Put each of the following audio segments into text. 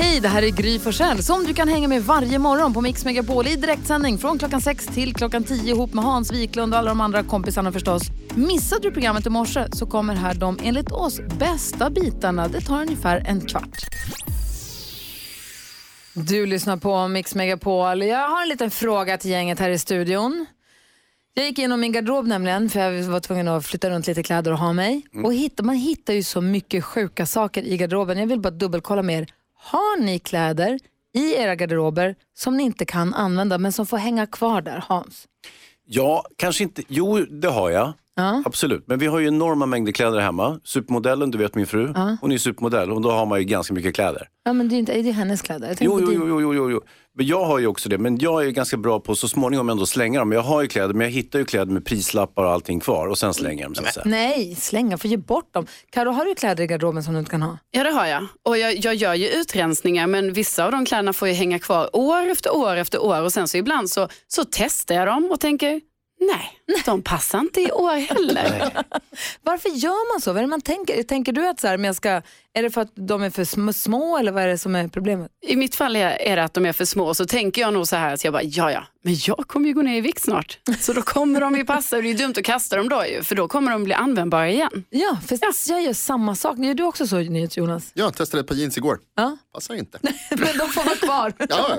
Hej, det här är Gry Forssell som du kan hänga med varje morgon på Mix Megapol i direktsändning från klockan 6 till klockan 10 ihop med Hans Wiklund och alla de andra kompisarna förstås. Missade du programmet i morse så kommer här de enligt oss bästa bitarna. Det tar ungefär en kvart. Du lyssnar på Mix Megapol. Jag har en liten fråga till gänget här i studion. Jag gick igenom min garderob nämligen för jag var tvungen att flytta runt lite kläder och ha mig. Mm. Och hitta, man hittar ju så mycket sjuka saker i garderoben. Jag vill bara dubbelkolla med er. Har ni kläder i era garderober som ni inte kan använda men som får hänga kvar där, Hans? Ja, kanske inte. Jo, det har jag. Ja. Absolut. Men vi har ju enorma mängder kläder hemma. Supermodellen, du vet min fru. Ja. Hon är ju supermodell och då har man ju ganska mycket kläder. Ja, men det är ju inte, det är hennes kläder. Jag tänkte Jo, på jo, din. jo, jo, jo, jo, jo. Men jag har ju också det. Men jag är ju ganska bra på så småningom ändå slänga dem. Jag har ju kläder, men jag hittar ju kläder med prislappar och allting kvar och sen slänger jag dem. Så att säga. Nej, slänga, för ge bort dem. Karo, har du kläder i garderoben som du inte kan ha? Ja, det har jag. Och jag, jag gör ju utrensningar, men vissa av de kläderna får ju hänga kvar år efter år efter år. Och sen så ibland så, så testar jag dem och tänker, nej, de passar inte i år heller. Varför gör man så? Vad är det man tänker? Tänker du att så här, men jag ska, är det för att de är för sm- små eller vad är det som är problemet? I mitt fall är är det att de är för små, så tänker jag nog så här, så jag bara, ja, ja, men jag kommer ju gå ner i vikt snart. Så då kommer de ju passa, och det är dumt att kasta dem då ju, för då kommer de bli användbara igen. Ja, för jag gör samma sak. Gör du också så, Jonas? Jag testade ett par jeans igår. Ja. Passar inte. Men de får vara kvar. Ja,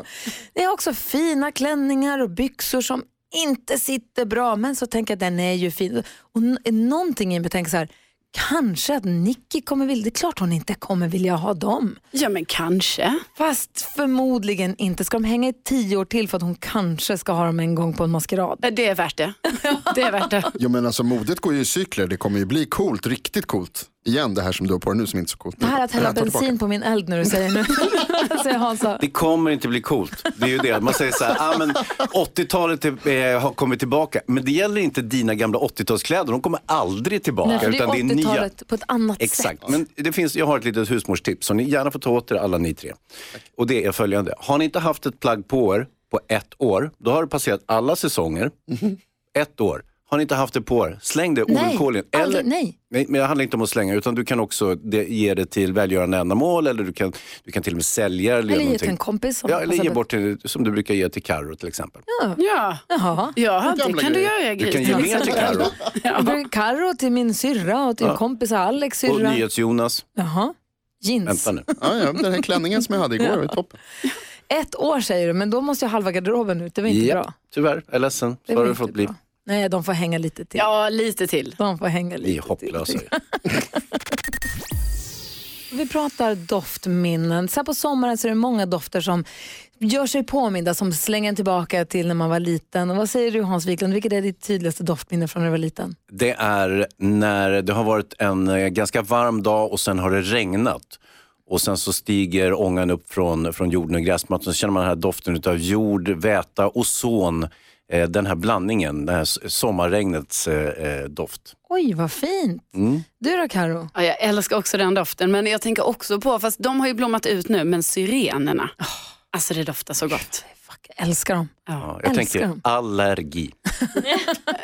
Det är också fina klänningar och byxor som inte sitter bra, men så tänker jag den är ju fin. Och n- någonting i mig tänker så här, kanske att Nicky kommer vilja, det är klart hon inte kommer vilja ha dem. Ja, men kanske. Fast förmodligen inte. Ska de hänga i tio år till för att hon kanske ska ha dem en gång på en maskerad? Äh, Det är värt det. Det är värt det. jo, men alltså, modet går ju i cykler. Det kommer ju bli coolt, riktigt coolt. Igen det här som du har på dig nu som inte är så coolt. Det här att hälla Jag tar tillbaka. bensin på min eld när du säger nu. Alltså, säger Hansa. Det kommer inte bli coolt. Det är ju det. Man säger så här, ah, men 80-talet är- eh, har kommit tillbaka. Men det gäller inte dina gamla 80-talskläder. De kommer aldrig tillbaka. Nej, för det är utan det är nya 80-talet på ett annat sätt. Exakt. Men det finns, jag har ett litet husmorstips som ni gärna får ta åt er alla ni tre. Och det är följande. Har ni inte haft ett plagg på er på ett år, då har det passerat alla säsonger. Ett år. Har ni inte haft det på er, släng det Mhm. Nej, ovillkorligen. aldrig, nej. nej. Men det handlar inte om att slänga, utan du kan också det, ge det till välgörande ändamål eller du kan, du kan till och med sälja. Eller, Eller göra ge någonting. till en kompis. Som Ja, eller passar ge bättre. bort till, som du brukar ge till Carro till exempel. Ja, Jaha. ja det Gamla kan du grejer. Du göra, Gry. kan ge mer till Carro Jag brukar Carro till min syrra och till kompisar Alex och syrra. NyhetsJonas. Jaha. Jeans. Vänta nu. Ja, ja, den här klänningen som jag hade igår var ju toppen. Ett år säger du, men då måste jag halva garderoben ut. Det var inte bra. tyvärr. Jag är ledsen. Det Så var har det inte fått bli. bra. Nej, de får hänga lite till. Ja, lite till. De får hänga Ni är lite till. hopplösa. ju. Vi pratar doftminnen. Så här på sommaren så är det många dofter som gör sig påminda, som slänger en tillbaka till när man var liten. Och vad säger du Hans Wiklund, vilket är ditt tydligaste doftminne från när du var liten? Det är när det har varit en eh, ganska varm dag och sen har det regnat. Och sen så stiger ångan upp från, från jorden och gräsmattan. Så känner man den här doften av jord, väta, ozon. Eh, den här blandningen, det här s- sommarregnets eh, eh, doft. Oj, vad fint. Mm. Du då Karo? Ja, jag älskar också den doften, men jag tänker också på, fast de har ju blommat ut nu, men syrenerna. Alltså det doftar så gott. Fuck, jag älskar dem. Ja, jag Älskar tänker dem. allergi.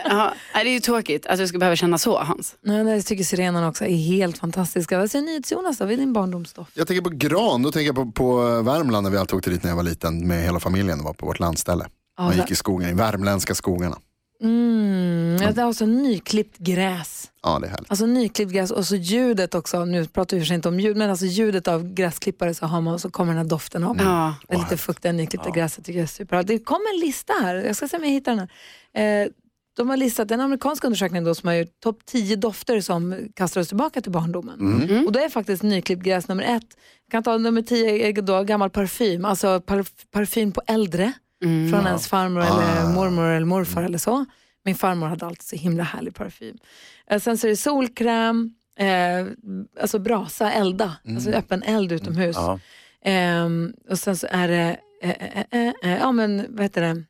Ja, nej, det är ju tråkigt att du ska behöva känna så, Hans. Nej, nej, jag tycker sirenerna också är helt fantastiska. Vad säger NyhetsJonas då, vid din barndomsdoft? Jag tänker på gran, då tänker jag på, på Värmland när vi alltid åkte dit när jag var liten med hela familjen och var på vårt landställe. Man där- gick i skogen, i värmländska skogarna. Mm, ja, det är alltså nyklippt gräs. Ja, det är härligt. Alltså nyklippt gräs och så ljudet också. Nu pratar vi för sig inte om ljud, men alltså ljudet av gräsklippare så har man och så kommer den här doften av. Ja. Det är lite fuktiga nyklippta gräset tycker jag är superhärligt. Det kom en lista här, jag ska se om jag hittar den här. Eh, de har listat en amerikansk undersökning då som har gjort topp 10 dofter som kastar oss tillbaka till barndomen. Och då är faktiskt nyklippt gräs nummer ett. Jag kan ta nummer 10, är då gammal parfym, alltså parf- parfym på äldre. Mm. Från Mm. ens farmor Ah. eller mormor eller morfar eller så. Min farmor hade alltid så himla härlig parfym. Eh, sen så är det solkräm, eh, alltså brasa, elda, alltså öppen eld utomhus. Mm. Ja. eh, Ehm, och sen så är det, eh, eh, eh, eh, ja men vad heter det,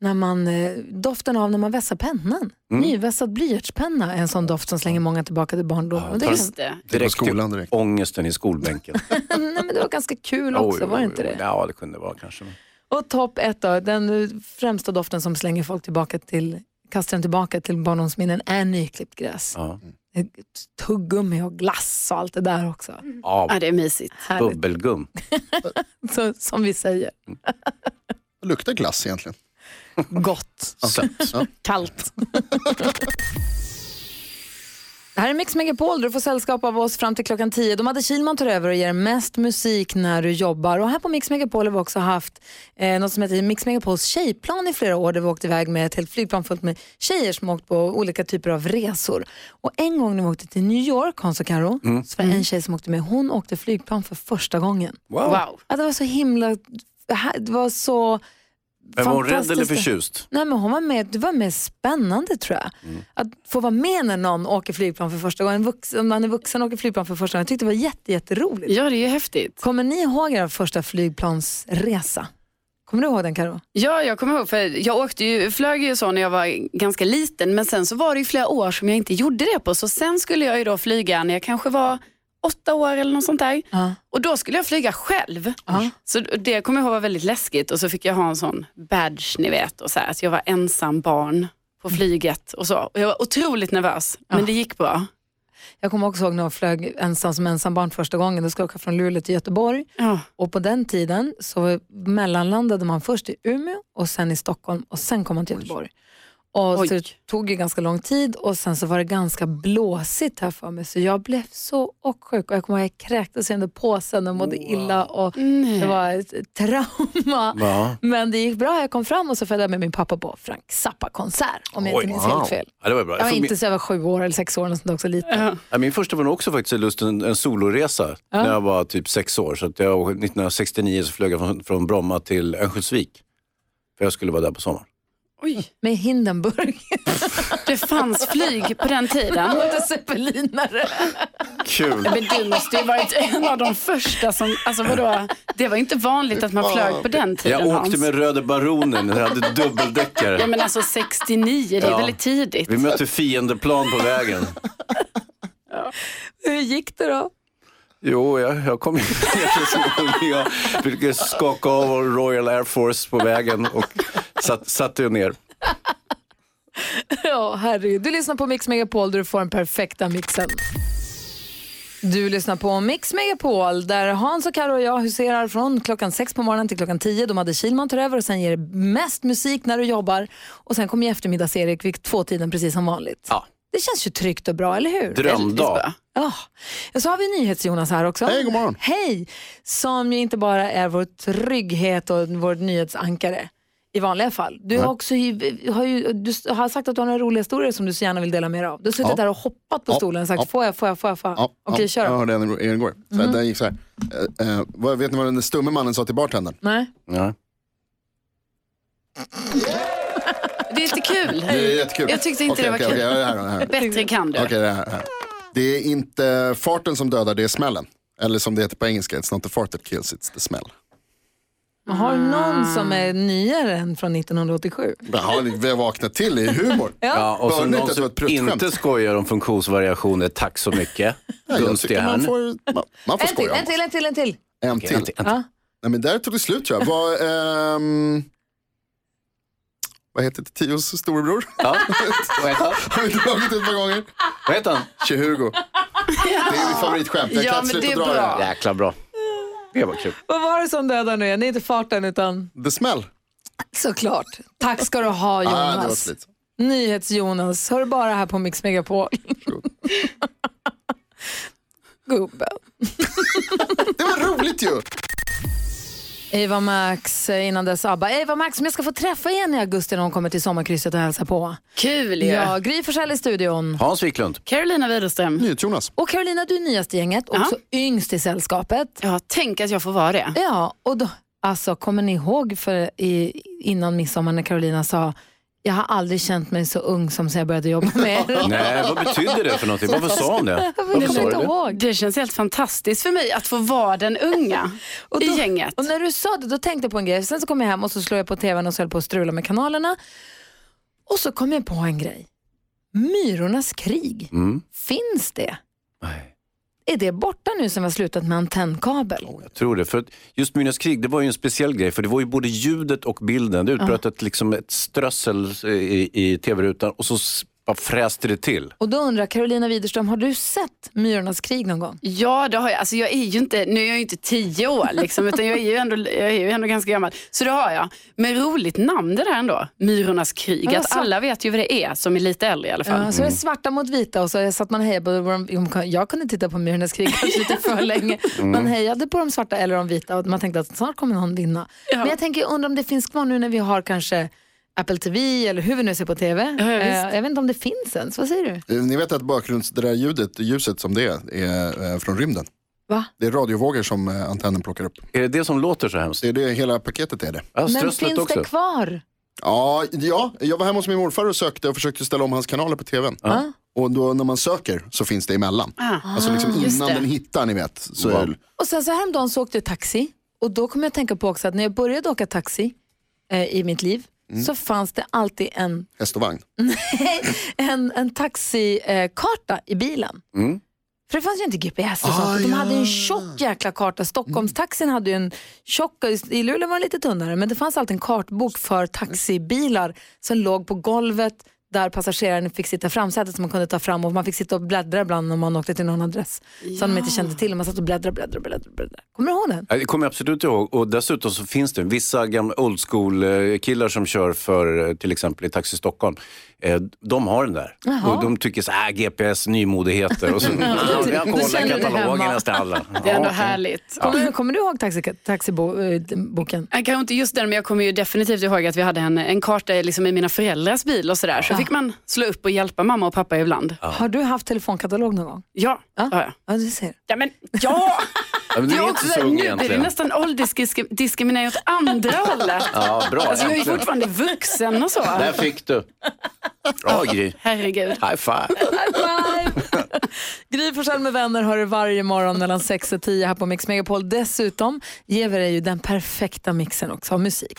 när man, eh, doften av när man vässar pennan. Mm. Nyvässad blyertspenna är en sån doft som slänger många tillbaka till barndomen. Och det, är- Just det. Direkt på skolan direkt. till ångesten i skolbänken. nej, men det var ganska kul Oj, också, oj, var det oj, inte oj. det? Ja, det kunde vara kanske. Och topp ett då, den eh, främsta doften som slänger folk tillbaka till, kastar dem tillbaka till barndomsminnen är nyklippt gräs. Ja. Eh, Tuggummi och glass och allt det där också. Ja, Ja, det är mysigt. Härligt, bubbelgum. så, som vi säger. Det luktar glass egentligen. Gott. Sött. Kallt. Det här är Mix Megapol, du får sällskap av oss fram till klockan 10. De hade Kilman tar över och ger mest musik när du jobbar. Och här på Mix Megapol har vi också haft eh, något som heter Mix Megapols tjejplan i flera år där vi åkte iväg med ett helt flygplan fullt med tjejer som åkt på olika typer av resor. Och en gång när vi åkte till New York, Hans och Karo, Mm. så var det en tjej som åkte med, hon åkte flygplan för första gången. Wow. Ja, det var så himla, det var så Men var hon rädd eller fantastiskt. förtjust? Nej, men hon var med, det var mer spännande tror jag. Att få vara med när någon åker flygplan för första gången. Vuxen, om man är vuxen och åker flygplan för första gången. Jag tyckte det var jätte, jätteroligt. Ja, det är ju häftigt. Kommer ni ihåg er första flygplansresa? Kommer du ihåg den Karo? Ja, jag kommer ihåg, för jag åkte ju, flög ju så när jag var ganska liten, men sen så var det ju flera år som jag inte gjorde det på. Så sen skulle jag ju då flyga när jag kanske var åtta år eller något sånt där. Ja. Och då skulle jag flyga själv. Mm. Så det kommer jag ihåg var väldigt läskigt och så fick jag ha en sån badge, ni vet, och så här, att jag var ensam barn på flyget och så. Och jag var otroligt nervös, men det gick bra. Jag kommer också ihåg när jag flög ensam som ensambarn första gången. Då skulle jag åka från Luleå till Göteborg. Ja. Och på den tiden så mellanlandade man först i Umeå och sen i Stockholm och sen kom man till Göteborg. Och Oj. så det tog ju ganska lång tid och sen så var det ganska blåsigt här för mig så jag blev så åksjuk och jag kommer ihåg jag kräktes under påsen och mådde illa och det var ett trauma. Ja. Men det gick bra, jag kom fram och så följde jag med min pappa på Frank Zappa-konsert om jag inte minns helt fel. Ja, det var bra. Jag var För inte så jag var sju år eller sex år eller något sånt där, också liten. Ja, min första var nog också faktiskt lust en, en soloresa när jag var typ sex år. Så att jag, 1969 så flög jag från, från Bromma till Örnsköldsvik. För jag skulle vara där på sommaren. Oj, Med Hindenburg, det fanns flyg på den tiden. inte zeppelinare. Kul. Men du måste ju varit en av de första som, alltså vadå, det var inte vanligt att man flög på den tiden Jag åkte Hans. med Röde Baronen, jag hade dubbeldäckare. Ja men alltså 69, det är Ja. väldigt tidigt. Vi mötte fiendeplan på vägen. Hur gick det då? Jo, jag, jag kom in Jag fick skaka av Royal Air Force på vägen och satt, satte jag ner. Ja, herregud. Du lyssnar på Mix Megapol där du får den perfekta mixen. Du lyssnar på Mix Megapol där Hans och Karo och jag huserar från klockan sex på morgonen till klockan tio. De hade Kilman tar över och sen ger det mest musik när du jobbar. Och sen kommer ju eftermiddags-Erik vid tvåtiden precis som vanligt. Ja. Det känns ju tryggt och bra, eller hur? Drömdag. Ja. Och så har vi NyhetsJonas här också. Hej, god morgon. Hej! Som ju inte bara är vår trygghet och vår nyhetsankare i vanliga fall. Du har, också, ju- har, ju, du har sagt att du har några roliga historier som du så gärna vill dela med dig av. Du har suttit Ja. där och hoppat på Ja, stolen och sagt ja. får jag, får jag, får jag, får jag. Ja, Okej, ja, kör Jag då. Mm. hörde en en igår. Så här, Den gick så här. Eh, eh, vad, vet ni vad den stumme mannen sa till bartendern? Nej. Ja. Det är lite kul. Det är jättekul. Jag tyckte inte Okej, det var okej, kul. okej, det här, det här. Bättre kan du. Okej, det här, det här. Det är inte farten som dödar, det är smällen. Eller som det heter på engelska, it's not the fart that kills, it's the smell. Men Har du någon Ah. som är nyare än från 1987? Jaha, ni- vi har vaknat till i humor. Ja, och så Hörde inte någon att det var som ett pruttskämt? inte skojar om funktionsvariationer, tack så mycket. Ja, jag Dunstiga tycker man härn. får, man, man får En till, skoja. om en det. till, en till, en till. En till. Ja. Nej, men där tog det slut tror jag. Vad, ehm, vad heter Tios storebror? Ja. Vad heter han? Har vi dragit ett par gånger? Vad heter han? Tje-Hugo. Det är mitt favoritskämt. Jag Ja, kan men inte det är sluta dra bra. det här. Jäkla bra. Det var kul. Vad var det som dödade nu igen? Det är inte farten utan... The smell. Såklart. Tack ska du ha Ah, det var Jonas. slut. NyhetsJonas, hör bara här på Mix Megapol. Gubben. Det var roligt ju. Eva Max, eh, innan dess ABBA. Eva Max som jag ska få träffa igen i augusti när hon kommer till sommarkrysset och hälsa på. Kul ju. Ja, Gry Forssell i studion. Hans Wiklund. Carolina Widerström. NyhetsJonas. Och Carolina, du är nyast i gänget, också yngst i sällskapet. Ja, tänk att jag får vara det. Ja, och då, alltså kommer ni ihåg för i, innan midsommar när Carolina sa jag har aldrig känt mig så ung som sen jag började jobba med er. Nej, vad betyder det för någonting? Varför sa hon det? Jag Varför kommer sa du inte det? ihåg. Det känns helt fantastiskt för mig att få vara den unga Och i då- gänget. Och när du sa det, då tänkte jag på en grej. Sen så kom jag hem och så slog jag på tvn och så höll på att strula med kanalerna. Och så kom jag på en grej. Myrornas krig, Mm. finns det? Nej. Är det borta nu som vi har slutat med antennkabel? Jag tror det. För att just Myrornas krig, det var ju en speciell grej. För det var ju både ljudet och bilden. Det utbröt ett, liksom ett strössel eh, i, i tv-rutan och så s- bara fräste det till. Och då undrar Carolina Widerström, har du sett Myrornas krig någon gång? Ja, det har jag. Alltså, jag är ju inte, nu är jag ju inte tio år, liksom, utan jag är, ju ändå, jag är ju ändå ganska gammal. Så det har jag. Men roligt namn det där ändå, Myrornas krig. Ja, att så- alla vet ju vad det är, som är lite äldre i alla fall. Ja, så är det svarta mot vita och så satt man och hejade på dem. jo, men Jag kunde titta på Myrornas krig kanske lite för länge. Mm. Man hejade på de svarta eller de vita och man tänkte att snart kommer någon vinna. Men jag tänker, jag undrar om det finns kvar nu när vi har kanske Apple TV eller hur vi nu ser på TV. Ja, ja, visst. Eh, jag vet inte om det finns ens. Vad säger du? Eh, Ni vet att bakgrunds, det där ljudet, ljuset som det är, är eh, från rymden. Va? Det är radiovågor som eh, antennen plockar upp. Är det det som låter så hemskt? Det är det hela paketet är det. Ja, Men strösslet finns också. det kvar? Ja, ja, jag var hemma hos min morfar och sökte och försökte ställa om hans kanaler på tvn. Ja. Och då när man söker så finns det emellan. Ah. Alltså liksom just innan det. den hittar, ni vet. Så Wow. Och sen så häromdagen så åkte jag taxi och då kom jag att tänka på också att när jag började åka taxi eh, i mitt liv Mm. så fanns det alltid en häst och vagn. en, en taxikarta eh, i bilen. Mm. För det fanns ju inte GPS och sånt. De hade ju en tjock jäkla karta. Stockholmstaxin hade ju en tjock, och i Luleå var den lite tunnare, men det fanns alltid en kartbok för taxibilar som låg på golvet där passageraren fick sitta i framsätet som man kunde ta fram och man fick sitta och bläddra ibland om man åkte till någon adress som de inte kände till. Och man satt och bläddrade, bläddrade, bläddrade. bläddrade. Kommer du ihåg den? Ja, Det kommer jag absolut ihåg. Och dessutom så finns det vissa gamla old school-killar som kör för eh, till exempel i Taxi Stockholm. Eh, De har den där. Jaha. Och de tycker så här, "Äh, GPS, nymodigheter. Och så, ja, Du- jag du kollar känner dig hemma. katalogerna till alla. Det är ändå Ja, härligt. Kommer, kommer du ihåg taxi, eh, taxiboken? Jag kanske inte just den, men jag kommer ju definitivt ihåg att vi hade en, en karta liksom i mina föräldrars bil och sådär. Så fick man slå upp och hjälpa mamma och pappa ibland. Ja, Har du haft telefonkatalog någon gång? ja. Ja. ja. Ja, du ser. ja men ja! Ja, men du Det är är inte också så så ung nu blir det egentligen. nästan åldersdiskriminering åt andra hållet. Ja, bra. Alltså jag är ju äntligen. fortfarande vuxen och så. Där fick du. Bra Gry. Herregud. High five. Gry Forssell med vänner har du varje morgon mellan 6 och 10 här på Mix Megapol. Dessutom ger vi dig ju den perfekta mixen också av musik.